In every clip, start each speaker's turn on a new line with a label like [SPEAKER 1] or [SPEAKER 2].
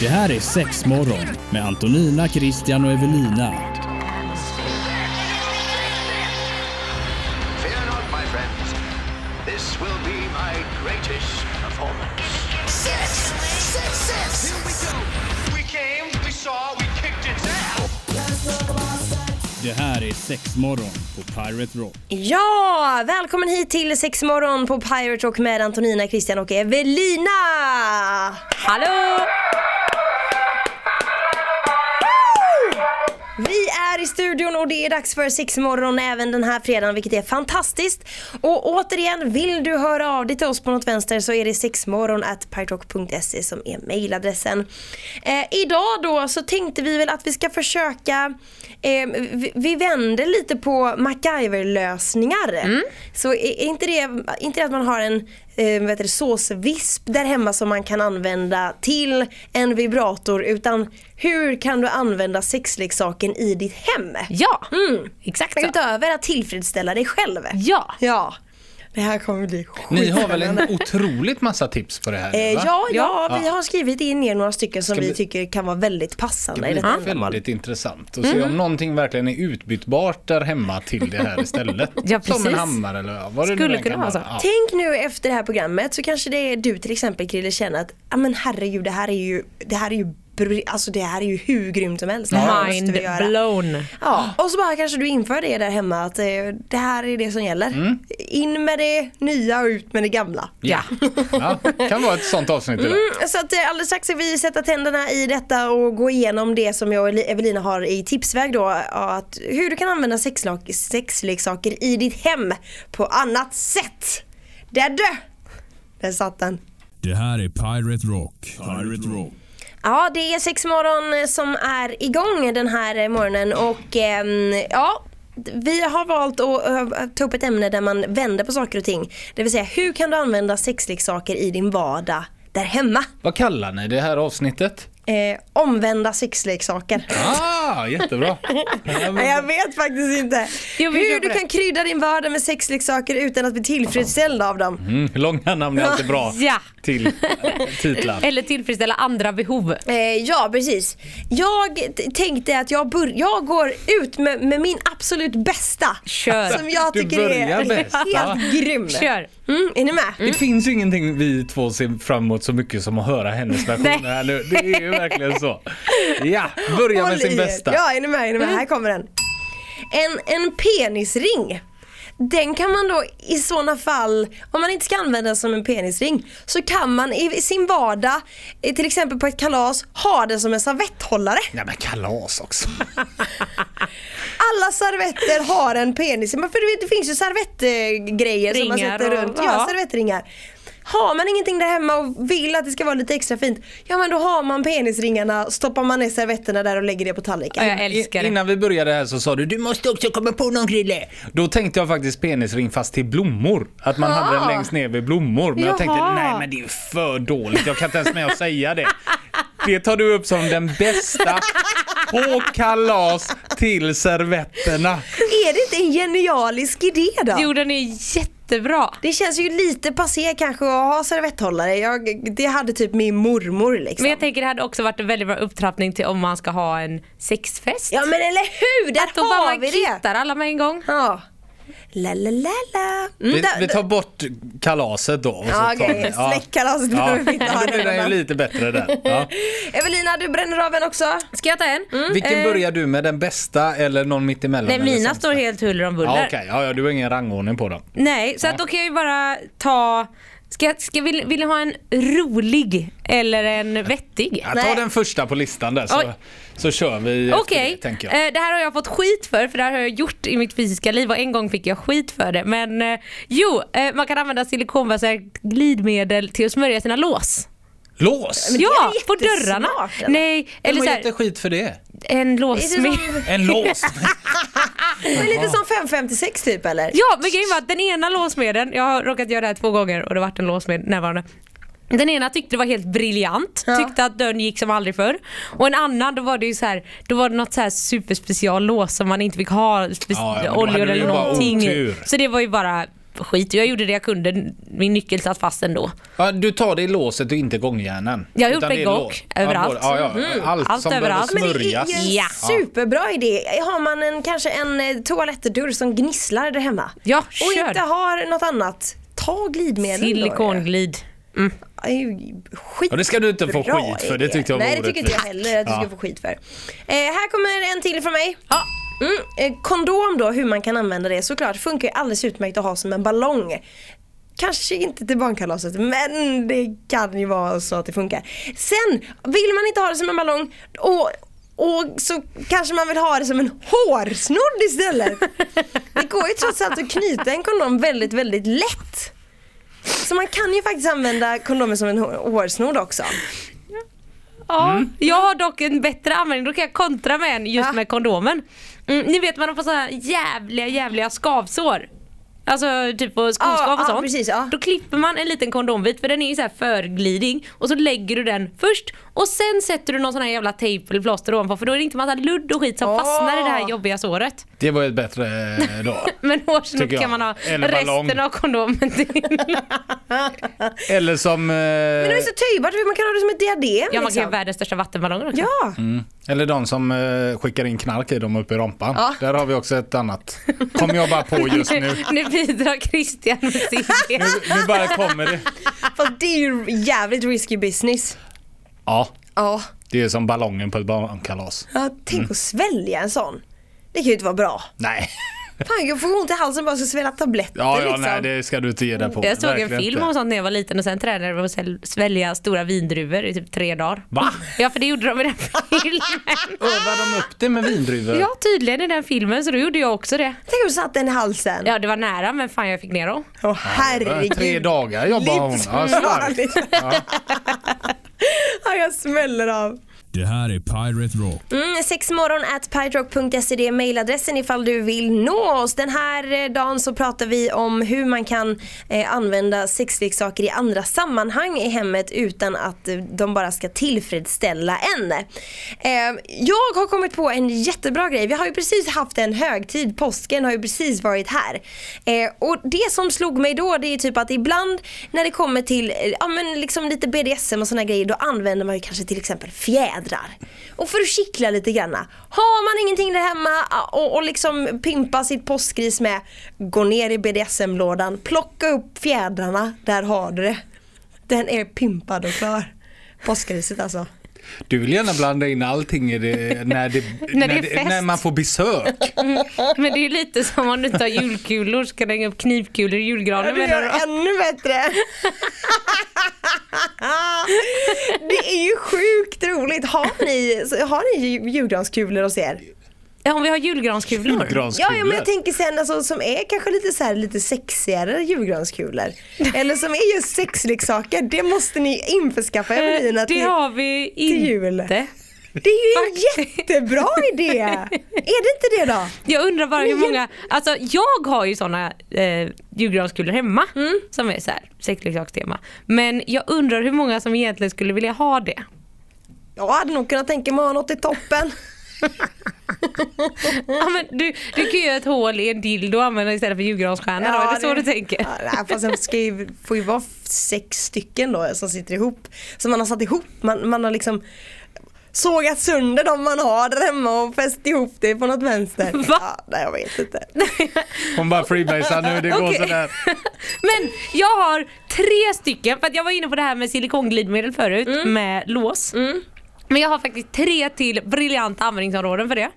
[SPEAKER 1] Det här är Sexmorgon med Antonina, Christian och Evelina.
[SPEAKER 2] Fear not, my friends. This will be my greatest performance.
[SPEAKER 3] Six! Six, six! Here we go!
[SPEAKER 2] We came, we saw, we kicked its ass.
[SPEAKER 1] Det här är Sexmorgon på Pirate Rock.
[SPEAKER 4] Ja, välkommen hit till Sexmorgon på Pirate Rock med Antonina, Christian och Evelina! Hallå! Vi är i studion och det är dags för Sexmorgon även den här fredagen vilket är fantastiskt. Och återigen, vill du höra av dig till oss på något vänster så är det sexmorgon som är mejladressen. Eh, idag då så tänkte vi väl att vi ska försöka, eh, vi, vi vänder lite på MacGyver-lösningar. Så är är inte det, inte det att man har en eh, vad heter det, såsvisp där hemma som man kan använda till en vibrator utan hur kan du använda sexleksaken i ditt hem?
[SPEAKER 5] Ja,
[SPEAKER 4] Mm.
[SPEAKER 5] exakt så.
[SPEAKER 4] Utöver att tillfredsställa dig själv.
[SPEAKER 5] Ja.
[SPEAKER 4] Ja. Det här kommer bli skit.
[SPEAKER 6] Ni har väl en otroligt massa tips på det här?
[SPEAKER 4] Eh,
[SPEAKER 6] va?
[SPEAKER 4] ja, ja,
[SPEAKER 6] Ja.
[SPEAKER 4] vi har skrivit in er några stycken som
[SPEAKER 6] Ska
[SPEAKER 4] vi
[SPEAKER 6] bli-
[SPEAKER 4] tycker kan vara väldigt passande i
[SPEAKER 6] Det
[SPEAKER 4] detta
[SPEAKER 6] är
[SPEAKER 4] ändamål.
[SPEAKER 6] väldigt intressant att se om någonting verkligen är utbytbart där hemma till det här istället.
[SPEAKER 5] Ja,
[SPEAKER 6] Som en
[SPEAKER 5] precis.
[SPEAKER 6] hammare eller vad det
[SPEAKER 5] Skulle
[SPEAKER 6] nu än
[SPEAKER 5] kunna
[SPEAKER 6] kan
[SPEAKER 5] vara så.
[SPEAKER 6] Ja.
[SPEAKER 4] Tänk nu efter det här programmet så kanske det är du till exempel Krille känner att ja men herregud det här är ju, det här är ju br- Alltså det här är ju hur grymt som helst. Det här måste vi
[SPEAKER 5] Mind
[SPEAKER 4] göra.
[SPEAKER 5] blown.
[SPEAKER 4] Ja, och så bara kanske du inför det där hemma att eh, det här är det som gäller. In med det nya och ut med det gamla.
[SPEAKER 5] Ja.
[SPEAKER 6] Ja, kan vara ett sånt avsnitt idag.
[SPEAKER 4] Mm, så att eh, alldeles strax ska vi sätta tänderna i detta och gå igenom det som jag och Eli- Evelina har i tipsväg då. Att hur du kan använda sexlak- sexleksaker i ditt hem på annat sätt. Där du! Där satt den.
[SPEAKER 1] Det här är Pirate Rock. Pirate Rock.
[SPEAKER 4] Ja, det är sexmorgon som är igång den här morgonen och ehm, ja, vi har valt att eh, ta upp ett ämne där man vänder på saker och ting. Det vill säga, hur kan du använda sexleksaker i din vardag där hemma?
[SPEAKER 6] Vad kallar ni det här avsnittet?
[SPEAKER 4] Eh, omvända sexleksaker.
[SPEAKER 6] Ah, jättebra. Ja,
[SPEAKER 4] Nej,
[SPEAKER 6] men-
[SPEAKER 4] jag vet faktiskt inte.
[SPEAKER 5] Jo, vi
[SPEAKER 4] hur
[SPEAKER 5] kör på
[SPEAKER 4] du
[SPEAKER 5] det.
[SPEAKER 4] kan krydda din vardag med sexleksaker utan att bli tillfredsställd av dem.
[SPEAKER 6] Mm, långa namn är alltid bra
[SPEAKER 5] Ja. Eh,
[SPEAKER 6] till eh, titlar.
[SPEAKER 5] Eller tillfredsställa andra behov.
[SPEAKER 4] Eh, ja, precis. Jag t- tänkte att jag, bör- jag går ut med, med min absolut bästa.
[SPEAKER 5] Kör.
[SPEAKER 4] Som jag
[SPEAKER 6] Du
[SPEAKER 4] tycker
[SPEAKER 6] börjar
[SPEAKER 4] är
[SPEAKER 6] bäst, va?
[SPEAKER 4] helt grym.
[SPEAKER 5] Kör.
[SPEAKER 4] Mm, är ni med?
[SPEAKER 6] Det finns ju ingenting vi två ser fram emot så mycket som att höra hennes version
[SPEAKER 5] Nej.
[SPEAKER 6] här nu. Det är ju verkligen så. Ja, börja med
[SPEAKER 4] Håll i
[SPEAKER 6] sin
[SPEAKER 4] er.
[SPEAKER 6] bästa.
[SPEAKER 4] Ja, är ni med? Är ni med?
[SPEAKER 5] Mm.
[SPEAKER 4] Här kommer den. En, en penisring. Den kan man då i sådana fall, om man inte ska använda den som en penisring, så kan man i i sin vardag, eh, till exempel på ett kalas, ha den som en servetthållare.
[SPEAKER 6] Nej men kalas också.
[SPEAKER 4] Alla servetter har en penis. Men för du vet, det finns ju servettgrejer som man
[SPEAKER 5] Ringar
[SPEAKER 4] sätter
[SPEAKER 5] och-
[SPEAKER 4] runt.
[SPEAKER 5] ja.
[SPEAKER 4] Ja, servettringar. Har man ingenting där hemma och vill att det ska vara lite extra fint, ja men då har man penisringarna, stoppar man ner servetterna där och lägger det på tallriken.
[SPEAKER 5] Ja, jag älskar
[SPEAKER 6] I-
[SPEAKER 5] det.
[SPEAKER 6] Innan vi började här så sa du du måste också komma på någon grille. Då tänkte jag faktiskt penisring fast till blommor. Att man hade den längst ner vid blommor. Men jag tänkte
[SPEAKER 5] Jaha.
[SPEAKER 6] nej men det är för dåligt. Jag kan inte ens med att säga det. Det tar du upp som den bästa på kalas till servetterna.
[SPEAKER 4] Är det inte en genialisk idé då?
[SPEAKER 5] Jo, den är jättebra.
[SPEAKER 4] Det känns ju lite passé kanske att ha servetthållare. Jag, det hade typ min mormor liksom.
[SPEAKER 5] Men jag tänker det hade också varit en väldigt bra upptrappning till om man ska ha en sexfest.
[SPEAKER 4] ja men eller hur! Där
[SPEAKER 5] Att då bara
[SPEAKER 4] har
[SPEAKER 5] man
[SPEAKER 4] vi det!
[SPEAKER 5] kittar alla med en gång.
[SPEAKER 4] Ja. La la la la. Mm,
[SPEAKER 6] Vi,
[SPEAKER 4] där-
[SPEAKER 6] vi tar bort kalaset då. och så
[SPEAKER 4] Ja,
[SPEAKER 6] tar
[SPEAKER 4] okej.
[SPEAKER 6] vi- ja.
[SPEAKER 4] Släckkalaset
[SPEAKER 6] Ja,
[SPEAKER 4] behöver vi inte ha
[SPEAKER 6] då blir
[SPEAKER 4] den
[SPEAKER 6] den ju
[SPEAKER 4] här.
[SPEAKER 6] lite bättre där. Ja.
[SPEAKER 4] Evelina, du bränner av en också.
[SPEAKER 5] Ska jag ta en?
[SPEAKER 4] Mm.
[SPEAKER 6] Vilken
[SPEAKER 5] Eh,
[SPEAKER 6] börjar du med? Den bästa eller någon mittemellan?
[SPEAKER 5] Nej,
[SPEAKER 6] eller
[SPEAKER 5] mina
[SPEAKER 6] sämsta?
[SPEAKER 5] står helt huller om buller.
[SPEAKER 6] Ja, okej. ja, ja, du har ingen rangordning på dem.
[SPEAKER 5] Nej, så att då kan jag ju bara ta... Ska, jag- ska, vill, vill ni ha en rolig eller en vettig?
[SPEAKER 6] Ja,
[SPEAKER 4] Nej.
[SPEAKER 6] ta den första på listan där så,
[SPEAKER 5] Oj.
[SPEAKER 6] så kör vi efter
[SPEAKER 5] Okej,
[SPEAKER 6] det, tänker jag.
[SPEAKER 5] eh, det här har jag fått skit för, för det här har jag gjort i mitt fysiska liv och en gång fick jag skit för det. Men eh, jo, eh, man kan använda silikonbaserat glidmedel till att smörja sina lås.
[SPEAKER 6] Lås!
[SPEAKER 4] det är
[SPEAKER 5] Ja,
[SPEAKER 4] väl
[SPEAKER 5] på
[SPEAKER 4] jättesmart,
[SPEAKER 5] dörrarna.
[SPEAKER 4] eller?
[SPEAKER 5] Nej, eller
[SPEAKER 6] Vem
[SPEAKER 5] så
[SPEAKER 6] har
[SPEAKER 5] här,
[SPEAKER 6] gett dig skit för det?
[SPEAKER 5] en
[SPEAKER 4] Är det
[SPEAKER 5] låssmed.
[SPEAKER 4] som,
[SPEAKER 6] En lås!
[SPEAKER 4] men lite som 556 typ eller?
[SPEAKER 5] Ja, men grejen var att den ena låsmeden, jag har råkat göra det här två gånger och det har varit en låsmed närvarande. Den ena tyckte det var helt briljant,
[SPEAKER 4] Ja.
[SPEAKER 5] tyckte att dörren gick som aldrig förr. Och en annan, då var det ju så här, då var det något så här superspeciallås som man inte fick ha spe-
[SPEAKER 6] Ja, ja, men då hade
[SPEAKER 5] oljor
[SPEAKER 6] du
[SPEAKER 5] eller
[SPEAKER 6] ju bara
[SPEAKER 5] någonting i.
[SPEAKER 6] otur.
[SPEAKER 5] Så det var ju bara skit och jag gjorde det jag kunde. Min nyckel satt fast ändå.
[SPEAKER 6] Ja, du tar det i låset och inte gångjärnen.
[SPEAKER 5] Jag har gjort
[SPEAKER 6] Utan det är
[SPEAKER 5] begång
[SPEAKER 6] lås.
[SPEAKER 5] överallt. Mm.
[SPEAKER 6] både- Ja, ja, Allt,
[SPEAKER 5] Allt
[SPEAKER 6] som
[SPEAKER 5] överallt.
[SPEAKER 4] Men
[SPEAKER 6] behöver
[SPEAKER 4] det är
[SPEAKER 6] smörjas.
[SPEAKER 4] ju en
[SPEAKER 5] Ja.
[SPEAKER 4] superbra idé. Har man en, kanske en eh, toalettdörr som gnisslar där hemma
[SPEAKER 5] Ja,
[SPEAKER 4] och
[SPEAKER 5] kör.
[SPEAKER 4] inte har något annat, ta glidmedel då.
[SPEAKER 5] Silikonglid.
[SPEAKER 4] Det är ju Skit
[SPEAKER 6] Ja, det ska du inte få
[SPEAKER 4] bra
[SPEAKER 6] skit för,
[SPEAKER 4] idé.
[SPEAKER 6] det tyckte jag var
[SPEAKER 4] Nej, det tycker inte jag
[SPEAKER 6] orättvist.
[SPEAKER 4] heller att du
[SPEAKER 6] Ja.
[SPEAKER 4] ska få skit för. Eh, här kommer en till från mig.
[SPEAKER 5] Ja.
[SPEAKER 4] Mm. Eh, kondom då, hur man kan använda det. Såklart funkar ju alldeles utmärkt att ha som en ballong. Kanske inte till barnkalaset men det kan ju vara så att det funkar. Sen vill man inte ha det som en ballong och, och så kanske man vill ha det som en hårsnodd istället. Det går ju trots allt att knyta en kondom väldigt, väldigt lätt. Så man kan ju faktiskt använda kondomen som en hår- hårsnodd också.
[SPEAKER 5] Ja. Jag har dock en bättre användning, då kan jag kontra med en just
[SPEAKER 4] Mm. Ja.
[SPEAKER 5] med kondomen. Mm, ni vet man får sådana här jävliga jävliga skavsår. Alltså typ på skoskav
[SPEAKER 4] Ja,
[SPEAKER 5] och
[SPEAKER 4] ja,
[SPEAKER 5] sånt.
[SPEAKER 4] precis, ja.
[SPEAKER 5] Då klipper man en liten kondombit för den är ju så här förglidning och så lägger du den först och sen sätter du någon sån här jävla tejp eller plåster ovanpå för då är det inte massa ludd och skit som
[SPEAKER 4] Åh.
[SPEAKER 5] fastnar i det här jobbiga såret.
[SPEAKER 6] Det var ett bättre eh, då.
[SPEAKER 5] Men
[SPEAKER 6] Tycker
[SPEAKER 5] hårsnodd
[SPEAKER 6] jag.
[SPEAKER 5] kan man ha
[SPEAKER 6] Eller ballong.
[SPEAKER 5] resten av kondomen till.
[SPEAKER 6] Eller som... eh,
[SPEAKER 4] Men det är så töjbart, man kan ha det som ett diadem.
[SPEAKER 5] ja man kan ju Mm. ha
[SPEAKER 4] liksom.
[SPEAKER 5] världens största vattenballonger också.
[SPEAKER 4] ja.
[SPEAKER 6] Eller de som eh, skickar in knark i dem uppe i rumpan.
[SPEAKER 4] Ja.
[SPEAKER 6] Där har vi också ett annat. Kommer jag bara på just nu.
[SPEAKER 5] nu bidrar Christian med sin del.
[SPEAKER 6] Nu bara kommer det.
[SPEAKER 4] Fast det är ju jävligt risky business.
[SPEAKER 6] Ja,
[SPEAKER 4] Ja.
[SPEAKER 6] det är som ballongen på ett barnkalas.
[SPEAKER 4] ja tänk
[SPEAKER 5] Mm.
[SPEAKER 4] att svälja en sån. Det kan ju inte vara bra.
[SPEAKER 6] Nej.
[SPEAKER 4] Fan jag får ont i halsen bara så svälja tabletter
[SPEAKER 6] Ja, ja,
[SPEAKER 4] liksom.
[SPEAKER 6] nej det ska du inte ge dig på.
[SPEAKER 5] Jag såg en
[SPEAKER 6] Verkligen
[SPEAKER 5] film
[SPEAKER 6] inte.
[SPEAKER 5] om sånt när jag var liten och sen tränade jag på att sväl- svälja stora vindruvor i typ tre dagar.
[SPEAKER 6] Va?
[SPEAKER 5] Ja för det gjorde de i den filmen.
[SPEAKER 6] Övar de upp det med vindruvor?
[SPEAKER 5] Ja tydligen i den filmen så då gjorde jag också det.
[SPEAKER 4] Tänk om du satt den i halsen.
[SPEAKER 5] Ja det var nära men fan jag fick ner dem.
[SPEAKER 4] Åh
[SPEAKER 6] Tre
[SPEAKER 4] herregud.
[SPEAKER 6] dagar jobbar hon. Ja, starkt.
[SPEAKER 4] Livsfarligt. ja, jag smäller av.
[SPEAKER 1] Det här är Pirate Rock.
[SPEAKER 4] Mm, sexmorgon at pitrock.se det är mailadressen ifall du vill nå oss. Den här eh, dagen så pratar vi om hur man kan eh, använda sexleksaker i andra sammanhang i hemmet utan att eh, de bara ska tillfredsställa en. Eh, jag har kommit på en jättebra grej. Vi har ju precis haft en högtid, påsken har ju precis varit här. Eh, och det som slog mig då det är typ att ibland när det kommer till eh, ja, men liksom lite BDSM och såna grejer då använder man ju kanske till exempel fjädrar. Och för att kittla lite grann. Har man ingenting där hemma ah, och, och liksom pimpa sitt påskgris med gå ner i BDSM-lådan, plocka upp fjädrarna, där har du det. Den är pimpad och klar. Påskgriset alltså.
[SPEAKER 6] Du vill gärna blanda in allting i det, när, det,
[SPEAKER 5] När det är fest.
[SPEAKER 6] när man får besök.
[SPEAKER 5] Men det är ju lite som om du inte har julkulor ska hänga upp knivkulor i julgranen
[SPEAKER 4] Du gör
[SPEAKER 5] menar
[SPEAKER 4] det ännu bättre. det är ju sjukt roligt. Har ni, så har ni ju- julgranskulor hos er?
[SPEAKER 5] Ja om vi har julgranskulor.
[SPEAKER 4] Ja,
[SPEAKER 6] Julgranskulor.
[SPEAKER 4] ja, men jag tänker sen alltså, som är kanske lite, så här, lite sexigare julgranskulor. Eller som är just sexleksaker. Det måste ni införskaffa Evelina.
[SPEAKER 5] Eh,
[SPEAKER 4] till-
[SPEAKER 5] Det har vi
[SPEAKER 4] jul.
[SPEAKER 5] inte.
[SPEAKER 4] det är ju en jättebra idé. Är det inte det då?
[SPEAKER 5] Jag undrar bara hur
[SPEAKER 4] Men jag-
[SPEAKER 5] många, alltså jag har ju sådana eh, julgranskulor hemma
[SPEAKER 4] Mm.
[SPEAKER 5] som är så här sexleksakstema. Men jag undrar hur många som egentligen skulle vilja ha det.
[SPEAKER 4] Jag hade nog kunnat tänka mig att ha något i toppen. Mm.
[SPEAKER 5] Ja, men du, du kan ju göra ett hål i en dildo och använda istället för julgransstjärna då, är det, så du tänker?
[SPEAKER 4] Ja, nej, fast jag ska ju, får ju vara sex stycken då som sitter ihop. Som man har satt ihop. Man, man har liksom sågat sönder de man har där hemma och fäst ihop det på något vänster.
[SPEAKER 5] Va?
[SPEAKER 4] Ja, nej, jag vet inte.
[SPEAKER 6] Hon bara freebasar nu, det går
[SPEAKER 5] Okej.
[SPEAKER 6] sådär.
[SPEAKER 5] Men jag har tre stycken, för att jag var inne på det här med silikonglidmedel förut
[SPEAKER 4] Mm.
[SPEAKER 5] med lås. Men jag har faktiskt tre till briljanta användningsområden för det.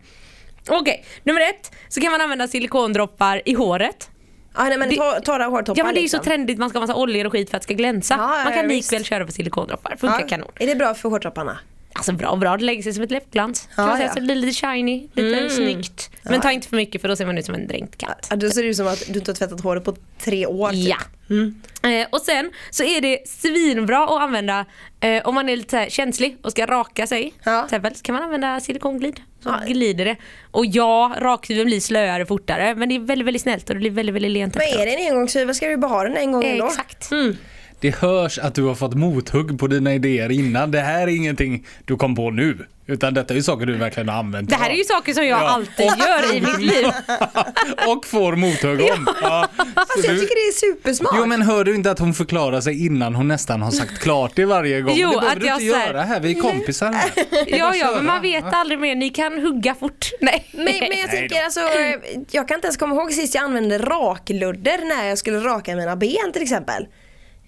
[SPEAKER 5] Okej, nummer ett så kan man använda silikondroppar i håret.
[SPEAKER 4] Ja, nej, men
[SPEAKER 5] Det-
[SPEAKER 4] tor- torra hårtoppar
[SPEAKER 5] Ja men det är ju så
[SPEAKER 4] liksom.
[SPEAKER 5] trendigt, man ska ha massa oljor och skit för att det ska glänsa.
[SPEAKER 4] Ja, ja,
[SPEAKER 5] man kan
[SPEAKER 4] ja,
[SPEAKER 5] likväl
[SPEAKER 4] visst.
[SPEAKER 5] köra på silikondroppar, funkar
[SPEAKER 4] Ja.
[SPEAKER 5] kanon.
[SPEAKER 4] Är det bra för hårtopparna?
[SPEAKER 5] Alltså bra, bra, det lägger sig som ett läppglans.
[SPEAKER 4] Ja,
[SPEAKER 5] kan man säga.
[SPEAKER 4] ja. Mm.
[SPEAKER 5] Så det blir lite shiny, lite snyggt. Men ta inte för mycket för då ser man ut som en dränkt katt.
[SPEAKER 4] Ja, då ser det ut som att du inte har tvättat håret på tre år. typ.
[SPEAKER 5] Ja. Eh, och sen så är det svinbra att använda eh, om man är lite så här känslig och ska raka sig.
[SPEAKER 4] Ja.
[SPEAKER 5] till exempel, Så kan man använda silikonglid. Så
[SPEAKER 4] Ja.
[SPEAKER 5] glider det. Och ja, rakhyveln blir slöare fortare men det är väldigt väldigt snällt och det blir väldigt väldigt lent
[SPEAKER 4] Men
[SPEAKER 5] efteråt.
[SPEAKER 4] är det en engångshyvel ska du bara ha den en gång
[SPEAKER 5] Eh,
[SPEAKER 4] ändå.
[SPEAKER 5] Exakt.
[SPEAKER 6] det hörs att du har fått mothugg på dina idéer innan. Det här är ingenting du kom på nu. Utan detta är ju saker du verkligen har använt.
[SPEAKER 5] Det här är ju saker som jag
[SPEAKER 6] Ja.
[SPEAKER 5] alltid gör i mitt liv.
[SPEAKER 6] Och får mothugg om. Ja. Så
[SPEAKER 4] Alltså, jag
[SPEAKER 6] du-
[SPEAKER 4] tycker det är supersmart.
[SPEAKER 6] Jo men hör du inte att hon förklarar sig innan hon nästan har sagt klart det varje gång?
[SPEAKER 5] Jo,
[SPEAKER 6] det behöver
[SPEAKER 5] att
[SPEAKER 6] du
[SPEAKER 5] jag
[SPEAKER 6] inte
[SPEAKER 5] så här-
[SPEAKER 6] göra här, vi är kompisar här. Det är bara
[SPEAKER 5] Ja,
[SPEAKER 6] att
[SPEAKER 5] ja,
[SPEAKER 6] köra.
[SPEAKER 5] men man vet aldrig mer. Ni kan hugga fort. Nej.
[SPEAKER 4] Men, men jag tänker alltså, eh, jag kan inte ens komma ihåg sist jag använde rakludder när jag skulle raka mina ben till exempel.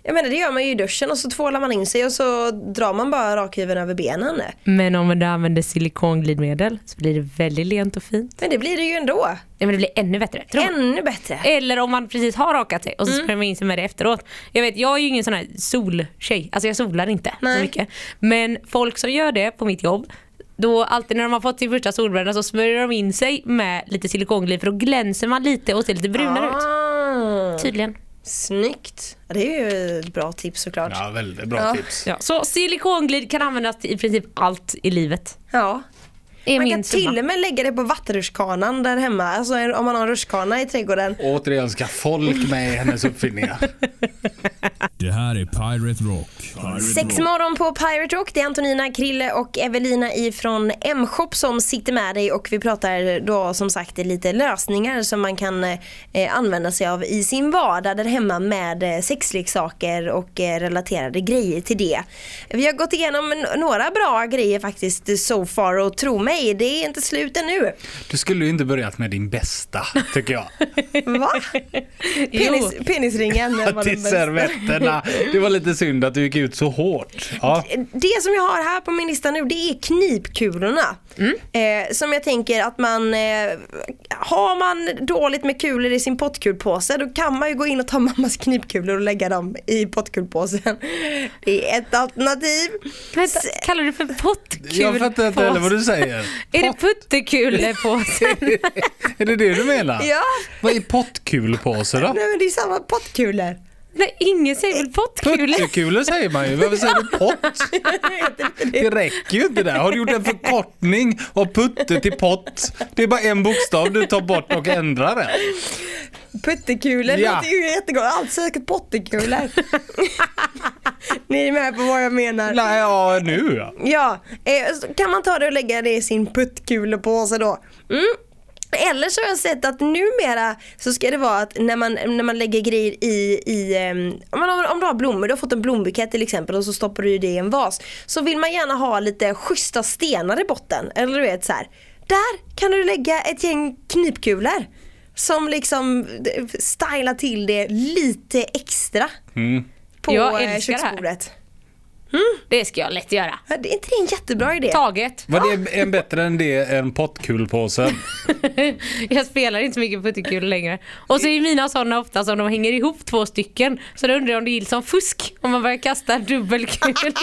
[SPEAKER 4] Jag menar det gör man ju i duschen och så tvålar man in sig och så drar man bara rakhyveln över benen.
[SPEAKER 5] Men om du använder silikonglidmedel så blir det väldigt lent och fint.
[SPEAKER 4] Men det blir det ju ändå.
[SPEAKER 5] Ja, men det blir ännu bättre. tror jag.
[SPEAKER 4] Ännu bättre.
[SPEAKER 5] Eller om man precis har rakat sig och så sprayar man in sig med det efteråt. Jag vet, jag är ju ingen sån här soltjej. Alltså jag solar inte
[SPEAKER 4] Nej.
[SPEAKER 5] så mycket. Men folk som gör det på mitt jobb då alltid när de har fått sin första solbränna så smörjer de in sig med lite silikonglid för då glänser man lite och ser lite brunare ut.
[SPEAKER 4] Ah,
[SPEAKER 5] Tydligen.
[SPEAKER 4] snyggt. Ja, Det är ju ett bra tips såklart.
[SPEAKER 6] Ja, väldigt bra tips.
[SPEAKER 5] Ja, så silikonglid kan användas till i princip allt i livet.
[SPEAKER 4] Ja.
[SPEAKER 5] Är
[SPEAKER 4] Man
[SPEAKER 5] min
[SPEAKER 4] kan
[SPEAKER 5] summa.
[SPEAKER 4] till och med lägga det på vattenrutschkanan där hemma. Alltså om man har en rutschkana i trädgården.
[SPEAKER 6] Återigen ska folk med i hennes uppfinningar.
[SPEAKER 1] Det här är Pirate Rock. Pirate
[SPEAKER 4] Sex morgon på Pirate Rock. Det är Antonina, Krille och Evelina ifrån M-shop som sitter med dig och vi pratar då som sagt lite lösningar som man kan eh, använda sig av i sin vardag där hemma med eh, sexleksaker och eh, relaterade grejer till det. Vi har gått igenom n- några bra grejer faktiskt eh, so far och tro mig, det är inte slut ännu.
[SPEAKER 6] Du skulle ju inte börjat med din bästa, tycker jag.
[SPEAKER 4] Va? Penis, penisringen. den var den
[SPEAKER 6] Till
[SPEAKER 4] bästa.
[SPEAKER 6] servetterna. Det var lite synd att du gick ut så hårt. Ja.
[SPEAKER 4] Det som jag har här på min lista nu det är knipkulorna. Eh, som jag tänker att man eh, Har man dåligt med kulor i sin pottkulpåse då kan man ju gå in och ta mammas knipkulor och lägga dem i pottkulpåsen. Det är ett alternativ.
[SPEAKER 5] Vänta, kallar du det för pottkulpåse?
[SPEAKER 6] Jag fattar inte heller vad du säger.
[SPEAKER 5] Är det puttekulpåse?
[SPEAKER 6] Är det det du menar?
[SPEAKER 4] Ja.
[SPEAKER 6] Vad är pottkulpåse då?
[SPEAKER 4] Nej men det är samma pottkulor.
[SPEAKER 5] Nej, ingen säger väl pottkulor?
[SPEAKER 6] Puttekulor säger man ju. Varför säger du pott? Det räcker ju inte där. Har du gjort en förkortning av putte till pott? Det är bara en bokstav du tar bort och ändrar den.
[SPEAKER 4] Puttekulor
[SPEAKER 6] Ja.
[SPEAKER 4] låter ju jättegott. Allt säkert pottekulor. Ni är med på vad jag menar.
[SPEAKER 6] Nej, ja, nu ja.
[SPEAKER 4] Ja, eh, så kan man ta det och lägga det i sin puttkulepåse då? Mm. Eller så har jag sett att numera så ska det vara att när man, när man lägger grejer i, i ehm, om, man, har- om du har blommor, du har fått en blombukett till exempel och så stoppar du det i en vas. Så vill man gärna ha lite schyssta stenar i botten. Eller du vet så här. Där kan du lägga ett gäng knipkulor. Som liksom eh, stylar till det lite extra. På
[SPEAKER 5] Jag
[SPEAKER 4] eh,
[SPEAKER 5] älskar det här.
[SPEAKER 4] köksbordet.
[SPEAKER 5] Det ska jag lätt göra.
[SPEAKER 4] Det är inte det en jättebra idé?
[SPEAKER 5] Taget.
[SPEAKER 6] Var det en bättre än det än pottkulpåsen?
[SPEAKER 5] Jag spelar inte så mycket puttekulor längre. Och så är mina sådana ofta som de hänger ihop två stycken. Så då undrar jag om det gills som fusk om man börjar kasta dubbelkulor.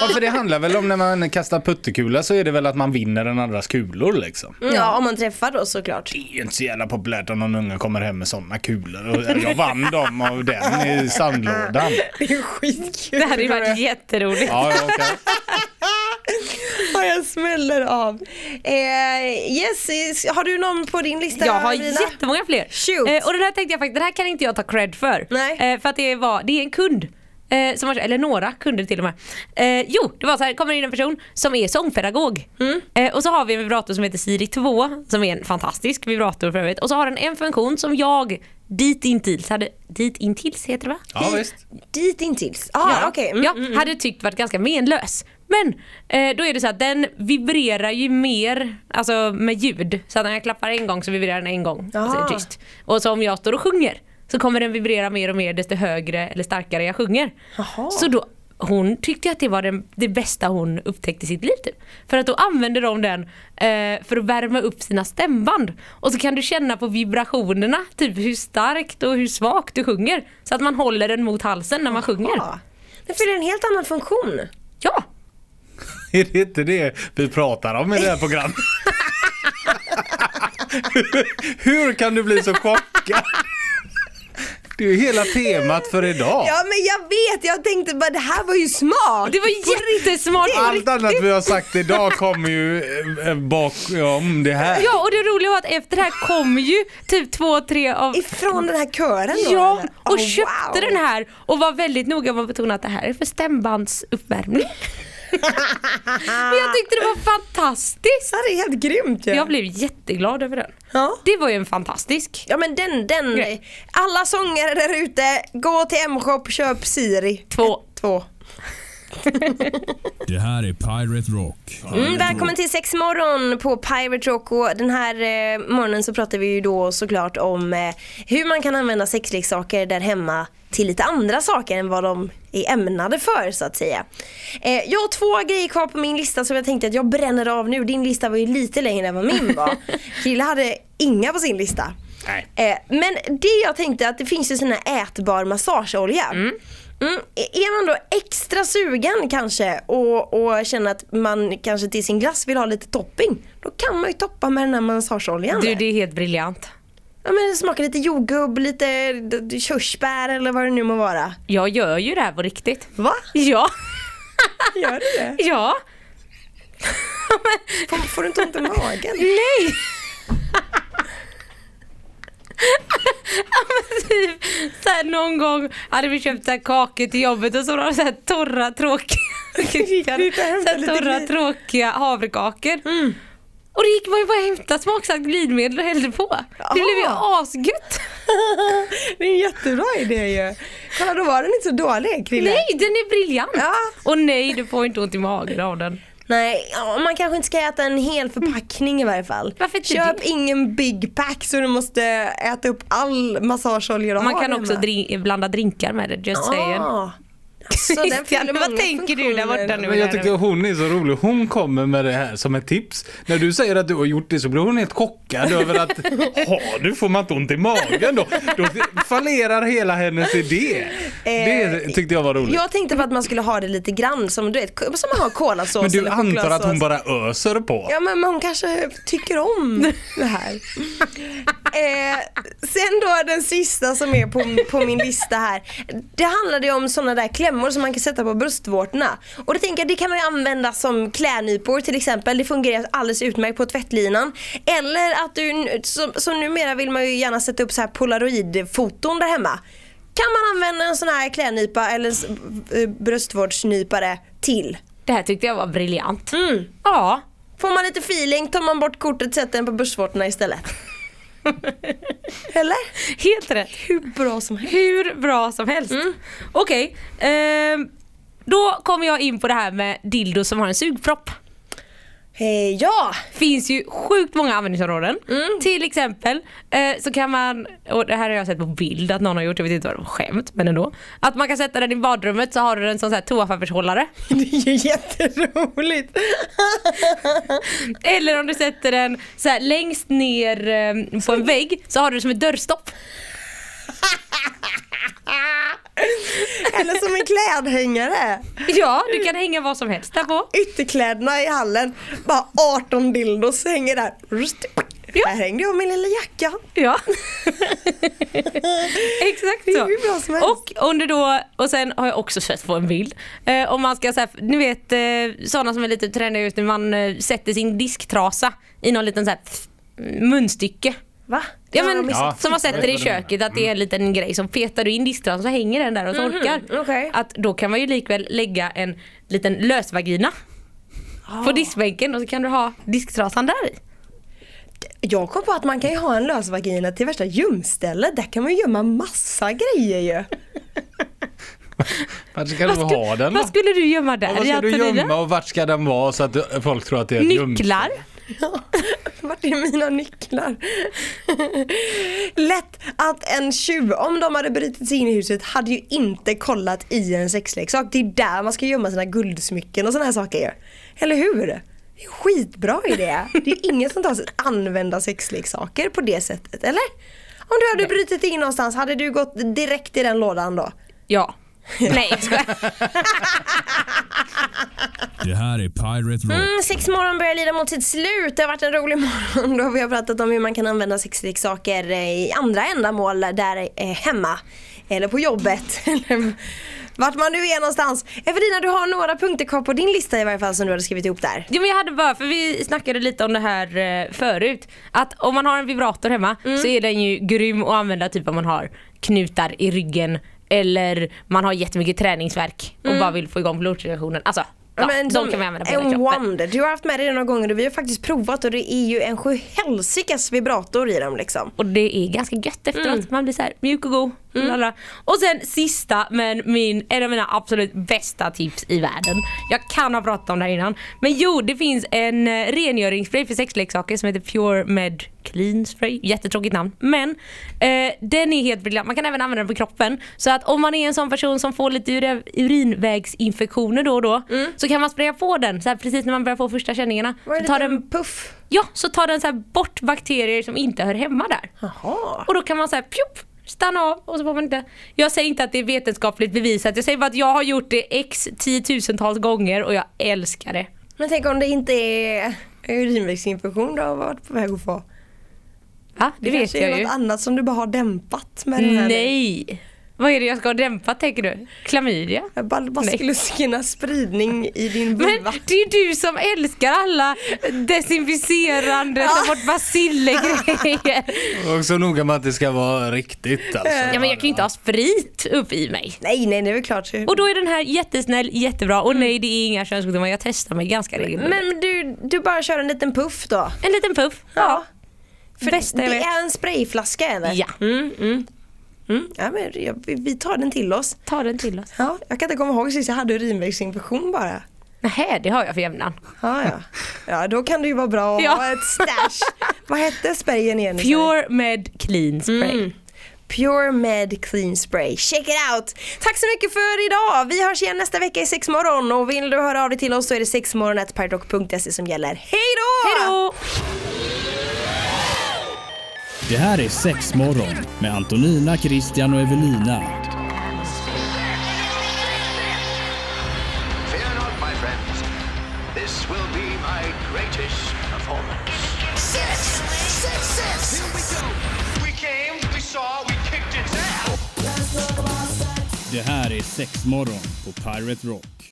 [SPEAKER 6] Ja, för det handlar väl om när man kastar puttekula så är det väl att man vinner den andras kulor liksom.
[SPEAKER 4] Ja, om man träffar då såklart.
[SPEAKER 6] Det är ju inte så jävla populärt om någon unge kommer hem med sådana kulor. Och Jag vann dem av den i sandlådan.
[SPEAKER 4] Det är skitkul.
[SPEAKER 5] Det hade ju varit jätteroligt.
[SPEAKER 6] Ja, ja, okej.
[SPEAKER 4] Vad jag smäller av. Eh, yes, yes, har du någon på din lista?
[SPEAKER 5] Jag har
[SPEAKER 4] Lina?
[SPEAKER 5] jättemånga fler.
[SPEAKER 4] Shoot.
[SPEAKER 5] Eh, och den här tänkte jag faktiskt, den här kan inte jag ta cred för.
[SPEAKER 4] Nej.
[SPEAKER 5] Eh, för att det var, det är en kund. Eh, som har, eller några kunder till och med. Eh, jo, det var så här, kommer in en person som är sångpedagog.
[SPEAKER 4] Mm.
[SPEAKER 5] Eh, och så har vi en vibrator som heter Siri 2, som är en fantastisk vibrator för övrigt. Och så har den en funktion som jag ditintills hade, ditintills heter det va?
[SPEAKER 6] ja visst.
[SPEAKER 4] Dit intills. Ah, ja, okej. Mm.
[SPEAKER 5] ja, hade tyckt varit ganska menlös. Men eh, då är det så att den vibrerar ju mer alltså, med ljud. Så att när jag klappar en gång så vibrerar den en gång.
[SPEAKER 4] Ah.
[SPEAKER 5] Så är det tyst. Och så om jag står och sjunger så kommer den vibrera mer och mer desto högre eller starkare jag sjunger.
[SPEAKER 4] Jaha.
[SPEAKER 5] Så då, hon tyckte att det var den, det bästa hon upptäckte i sitt liv. Typ. För att då använder de den eh, för att värma upp sina stämband. Och så kan du känna på vibrationerna, typ hur starkt och hur svagt du sjunger. Så att man håller den mot halsen när man sjunger.
[SPEAKER 4] Ja. Ah. Den fyller en helt annan funktion.
[SPEAKER 5] Ja,
[SPEAKER 6] Är det inte det vi pratar om i det här programmet? Hur kan du bli så chockad? Det är ju hela temat för idag.
[SPEAKER 4] Ja men jag vet, jag tänkte bara det här var ju smart.
[SPEAKER 5] Det var jättesmart!
[SPEAKER 6] Allt annat vi har sagt idag kommer ju eh, eh, bakom det här.
[SPEAKER 5] Ja, och det roliga var att efter det här kom ju typ två, tre av
[SPEAKER 4] Ifrån den här kören då?
[SPEAKER 5] Ja,
[SPEAKER 4] eller?
[SPEAKER 5] och
[SPEAKER 4] Oh,
[SPEAKER 5] köpte
[SPEAKER 4] wow.
[SPEAKER 5] den här och var väldigt noga med att betona att det här är för stämbandsuppvärmning. Men jag tyckte det var fantastiskt.
[SPEAKER 4] Så här är helt grymt ju.
[SPEAKER 5] Jag blev jätteglad över den.
[SPEAKER 4] Ja.
[SPEAKER 5] Det var ju en fantastisk.
[SPEAKER 4] Ja men den, den.
[SPEAKER 5] Grej.
[SPEAKER 4] Alla sångare där ute, gå till M-shop, köp Siri.
[SPEAKER 5] Två.
[SPEAKER 4] Två.
[SPEAKER 1] Det här är Pirate Rock.
[SPEAKER 4] Mm, välkommen till sex morgon på Pirate Rock och den här eh, morgonen så pratar vi ju då såklart om eh, hur man kan använda sexleksaker där hemma till lite andra saker än vad de är ämnade för så att säga. Eh, jag har två grejer kvar på min lista som jag tänkte att jag bränner av nu. Din lista var ju lite längre än vad min var. Krille hade inga på sin lista.
[SPEAKER 6] Nej.
[SPEAKER 4] Eh, men det jag tänkte att det finns ju sån här ätbar massageolja. Mm, Är man då extra sugen kanske och, och känner att man kanske till sin glass vill ha lite topping. Då kan man ju toppa med den här massageoljan.
[SPEAKER 5] Du, det är helt briljant.
[SPEAKER 4] Ja, men smaka lite jordgubb, lite d- d- körsbär eller vad det nu må vara.
[SPEAKER 5] Jag gör ju det här på riktigt.
[SPEAKER 4] Va?
[SPEAKER 5] Ja,
[SPEAKER 4] Gör du det?
[SPEAKER 5] ja,
[SPEAKER 4] Får, får du inte ont i magen?
[SPEAKER 5] nej. Ja, men typ, så här, någon gång hade vi köpt så här kakor till jobbet och så var det så här torra tråkiga,
[SPEAKER 4] ut och
[SPEAKER 5] så
[SPEAKER 4] hämta
[SPEAKER 5] här
[SPEAKER 4] lite Mm.
[SPEAKER 5] torra,
[SPEAKER 4] glid.
[SPEAKER 5] tråkiga havrekakor. Och då gick man ju bara och hämtade smaksatt glidmedel och hällde på. Det blev ju
[SPEAKER 4] Jaha.
[SPEAKER 5] asgött.
[SPEAKER 4] det är en jättebra idé ju. Kolla då var den inte så dålig Krille.
[SPEAKER 5] Nej, den är briljant.
[SPEAKER 4] Ja.
[SPEAKER 5] Och nej, du får inte ont i magen av den.
[SPEAKER 4] Nej, ja, man kanske inte ska äta en hel förpackning i varje fall.
[SPEAKER 5] Varför inte
[SPEAKER 4] Köp
[SPEAKER 5] det?
[SPEAKER 4] ingen big pack så du måste äta upp all massageolja du
[SPEAKER 5] Man
[SPEAKER 4] har
[SPEAKER 5] kan också
[SPEAKER 4] hemma.
[SPEAKER 5] drink, blanda drinkar med det, just saying.
[SPEAKER 4] Ah. Alltså, den
[SPEAKER 5] Christian,
[SPEAKER 4] fyller
[SPEAKER 5] vad
[SPEAKER 4] många
[SPEAKER 5] tänker du där
[SPEAKER 4] funktioner.
[SPEAKER 5] borta nu?
[SPEAKER 6] Men jag tycker hon är så rolig. Hon kommer med det här som ett tips. När du säger att du har gjort det så blir hon helt chockad över att har du får man inte ont i magen då? Då fallerar hela hennes idé. Det tyckte jag var roligt.
[SPEAKER 4] Jag tänkte på att man skulle ha det lite grann som du vet, som man har kolasås
[SPEAKER 6] Men du
[SPEAKER 4] eller
[SPEAKER 6] antar att hon
[SPEAKER 4] chokladsås.
[SPEAKER 6] bara öser på?
[SPEAKER 4] Ja men men hon kanske tycker om det här. eh, sen då den sista som är på, på min lista här. Det handlade ju om sådana där klämmor som man kan sätta på bröstvårtorna. Och det tänker jag, det kan man ju använda som klädnypor till exempel. Det fungerar alldeles utmärkt på tvättlinan. Eller att du, som, som numera vill man ju gärna sätta upp så här polaroidfoton där hemma. Kan man använda en sån här klädnypa eller en s- eh, bröstvårdsnypare till?
[SPEAKER 5] Det här tyckte jag var briljant.
[SPEAKER 4] Mm.
[SPEAKER 5] Ja,
[SPEAKER 4] Får man lite feeling tar man bort kortet och sätter den på börsvårtorna istället. Eller?
[SPEAKER 5] helt rätt.
[SPEAKER 4] Hur bra som helst. Mm.
[SPEAKER 5] Hur bra som helst. Okej, ehm, då kommer jag in på det här med dildo som har en sugpropp.
[SPEAKER 4] Eh, ja!
[SPEAKER 5] finns ju sjukt många användningsområden.
[SPEAKER 4] Mm.
[SPEAKER 5] Till exempel eh, så kan man, och det här har jag sett på bild att någon har gjort, jag vet inte vad det var, skämt men ändå. Att man kan sätta den i badrummet så har du den som så här toapappershållare.
[SPEAKER 4] Det är ju jätteroligt.
[SPEAKER 5] Eller om du sätter den så här längst ner eh, på en vägg så har du det som ett dörrstopp.
[SPEAKER 4] Eller som en klädhängare.
[SPEAKER 5] Ja, du kan hänga vad som helst där på.
[SPEAKER 4] Ytterkläderna i hallen. Bara 18 dildos hänger där. Rust.
[SPEAKER 5] Ja.
[SPEAKER 4] Där hängde jag min lilla jacka.
[SPEAKER 5] Ja. Exakt
[SPEAKER 4] Det är
[SPEAKER 5] så.
[SPEAKER 4] hur bra som helst.
[SPEAKER 5] och, under då, och sen har jag också sett på en bild. Eh, om man ska så här, ni vet eh, sådana som är lite träniga ut när man eh, sätter sin disktrasa i någon liten så här, pff, munstycke.
[SPEAKER 4] Va?
[SPEAKER 5] Ja, men,
[SPEAKER 6] missat.
[SPEAKER 5] som man
[SPEAKER 6] Ja,
[SPEAKER 5] sätter
[SPEAKER 6] jag vet
[SPEAKER 5] i
[SPEAKER 6] vad du menar. Mm.
[SPEAKER 5] köket, att det är en liten grej som petar du in disktrasan så hänger den där och torkar.
[SPEAKER 4] Mhm, okej.
[SPEAKER 5] Att då kan man ju likväl lägga en liten lösvagina
[SPEAKER 4] Ah.
[SPEAKER 5] på diskbänken och så kan du ha disktrasan där i.
[SPEAKER 4] Jag kom på att man kan ju ha en lösvagina till värsta gömstället. Där kan man ju gömma massa grejer ju.
[SPEAKER 6] Vart ska du
[SPEAKER 5] Vad sku-
[SPEAKER 6] ha den då?
[SPEAKER 5] Vad skulle du gömma där?
[SPEAKER 6] Ja, Vad
[SPEAKER 5] i
[SPEAKER 6] ska du
[SPEAKER 5] Antonina?
[SPEAKER 6] gömma och vart ska den vara så att folk tror att det är ett gömställe?
[SPEAKER 5] Nycklar?
[SPEAKER 4] Ja. Vart är mina nycklar? Lätt att en tjuv, om de hade brutit sig in i huset, hade ju inte kollat i en sexleksak. Det är där man ska gömma sina guldsmycken och såna här saker ju. Eller hur? Det är en skitbra idé. Det är ingen som tar sig att använda sexleksaker på det sättet, eller? Om du hade brutit in någonstans, hade du gått direkt i den lådan då?
[SPEAKER 5] Ja. Nej, jag skojar.
[SPEAKER 1] Det här är Pirate Rock.
[SPEAKER 4] Mm, sex morgon börjar lida mot sitt slut. Det har varit en rolig morgon. Då har vi pratat om hur man kan använda sexleksaker eh, i andra ändamål där eh, hemma. eller på jobbet. eller Vart man nu är någonstans. Evelina du har några punkter kvar på din lista i varje fall som du hade skrivit ihop där.
[SPEAKER 5] Ja, men jag hade bara, för vi snackade lite om det här eh, förut, att om man har en vibrator hemma
[SPEAKER 4] Mm.
[SPEAKER 5] så är den ju grym att använda typ om man har knutar i ryggen eller man har jättemycket träningsverk och bara vill få igång blodcirkulationen. Alltså, ja,
[SPEAKER 4] Mm. Men
[SPEAKER 5] de
[SPEAKER 4] som
[SPEAKER 5] kan vi använda på hela
[SPEAKER 4] en
[SPEAKER 5] kroppen.
[SPEAKER 4] wonder. Du har haft med dig den några gånger och vi har faktiskt provat och det är ju en sjuhelsikes vibrator i dem liksom.
[SPEAKER 5] Och det är ganska gött efteråt,
[SPEAKER 4] Mm.
[SPEAKER 5] man blir så här mjuk och god. Lala. Och sen sista men min, en av mina absolut bästa tips i världen. Jag kan ha pratat om det här innan. Men jo, det finns en eh, rengöringsspray för sexleksaker som heter Pure Med Clean Spray. Jättetråkigt namn. Men eh, den är helt briljant. Man kan även använda den på kroppen. Så att om man är en sån person som får lite ure- urinvägsinfektioner då och då så kan man spraya på den så här, precis när man börjar få första känningarna.
[SPEAKER 4] Mm. Var det
[SPEAKER 5] Så
[SPEAKER 4] en
[SPEAKER 5] tar den
[SPEAKER 4] liten puff?
[SPEAKER 5] Ja, så tar den så här bort bakterier som inte hör hemma där.
[SPEAKER 4] Jaha.
[SPEAKER 5] Och då kan man så här pjup, stanna av och så får man inte. Jag säger inte att det är vetenskapligt bevisat. Jag säger bara att jag har gjort det x tiotusentals gånger och jag älskar det.
[SPEAKER 4] Men tänk om det inte är urinvägsinfektion du har varit på väg att få?
[SPEAKER 5] Va? Det, vet
[SPEAKER 4] kanske är
[SPEAKER 5] jag
[SPEAKER 4] något
[SPEAKER 5] ju.
[SPEAKER 4] annat som du bara har dämpat med den här.
[SPEAKER 5] Nej! Vad är det jag ska dämpa tänker du? Klamydia?
[SPEAKER 4] Jag bara- bara
[SPEAKER 5] Nej.
[SPEAKER 4] Sluskernas spridning i din
[SPEAKER 5] Men
[SPEAKER 4] vulva.
[SPEAKER 5] det är ju du som älskar alla desinficerande, ta bort bacillergrejer.
[SPEAKER 6] Och så noga med att det ska vara riktigt alltså.
[SPEAKER 5] Ja men jag kan ju inte ha sprit upp i mig.
[SPEAKER 4] Nej, nej, det är väl klart.
[SPEAKER 5] Och då är den här jättesnäll, jättebra och nej det är inga könssjukdomar, jag testar mig ganska regelbundet.
[SPEAKER 4] Mm. Men du, du bara kör en liten puff då?
[SPEAKER 5] En liten puff.
[SPEAKER 4] Ja. För
[SPEAKER 5] Bästa jag
[SPEAKER 4] det
[SPEAKER 5] vet.
[SPEAKER 4] är en sprayflaska eller?
[SPEAKER 5] Ja,
[SPEAKER 4] ja men jag- vi- vi tar den till oss.
[SPEAKER 5] mm. ta den till oss.
[SPEAKER 4] Ja, jag kan inte komma ihåg sist jag hade urinvägsinfektion bara.
[SPEAKER 5] Nähä, det har jag för jämnan.
[SPEAKER 4] Ja, ja. ja, då kan det ju vara bra att
[SPEAKER 5] Ja.
[SPEAKER 4] ha ett stash. Vad hette sprayen igen?
[SPEAKER 5] Pure Med Clean Spray.
[SPEAKER 4] Pure Med Clean Spray. Check it out! Tack så mycket för idag! Vi hörs igen nästa vecka i sexmorgon och vill du höra av dig till oss så är det sexmorgon.pyrock.se som gäller. Hej då!
[SPEAKER 5] Hej då!
[SPEAKER 1] Det här är Sexmorgon med Antonina, Christian och Evelina.
[SPEAKER 2] Fear not, my friends. This will be my greatest performance.
[SPEAKER 3] Six, six, six. Here we go.
[SPEAKER 2] We came, we saw, we kicked its ass.
[SPEAKER 1] Det här är Sexmorgon på Pirate Rock.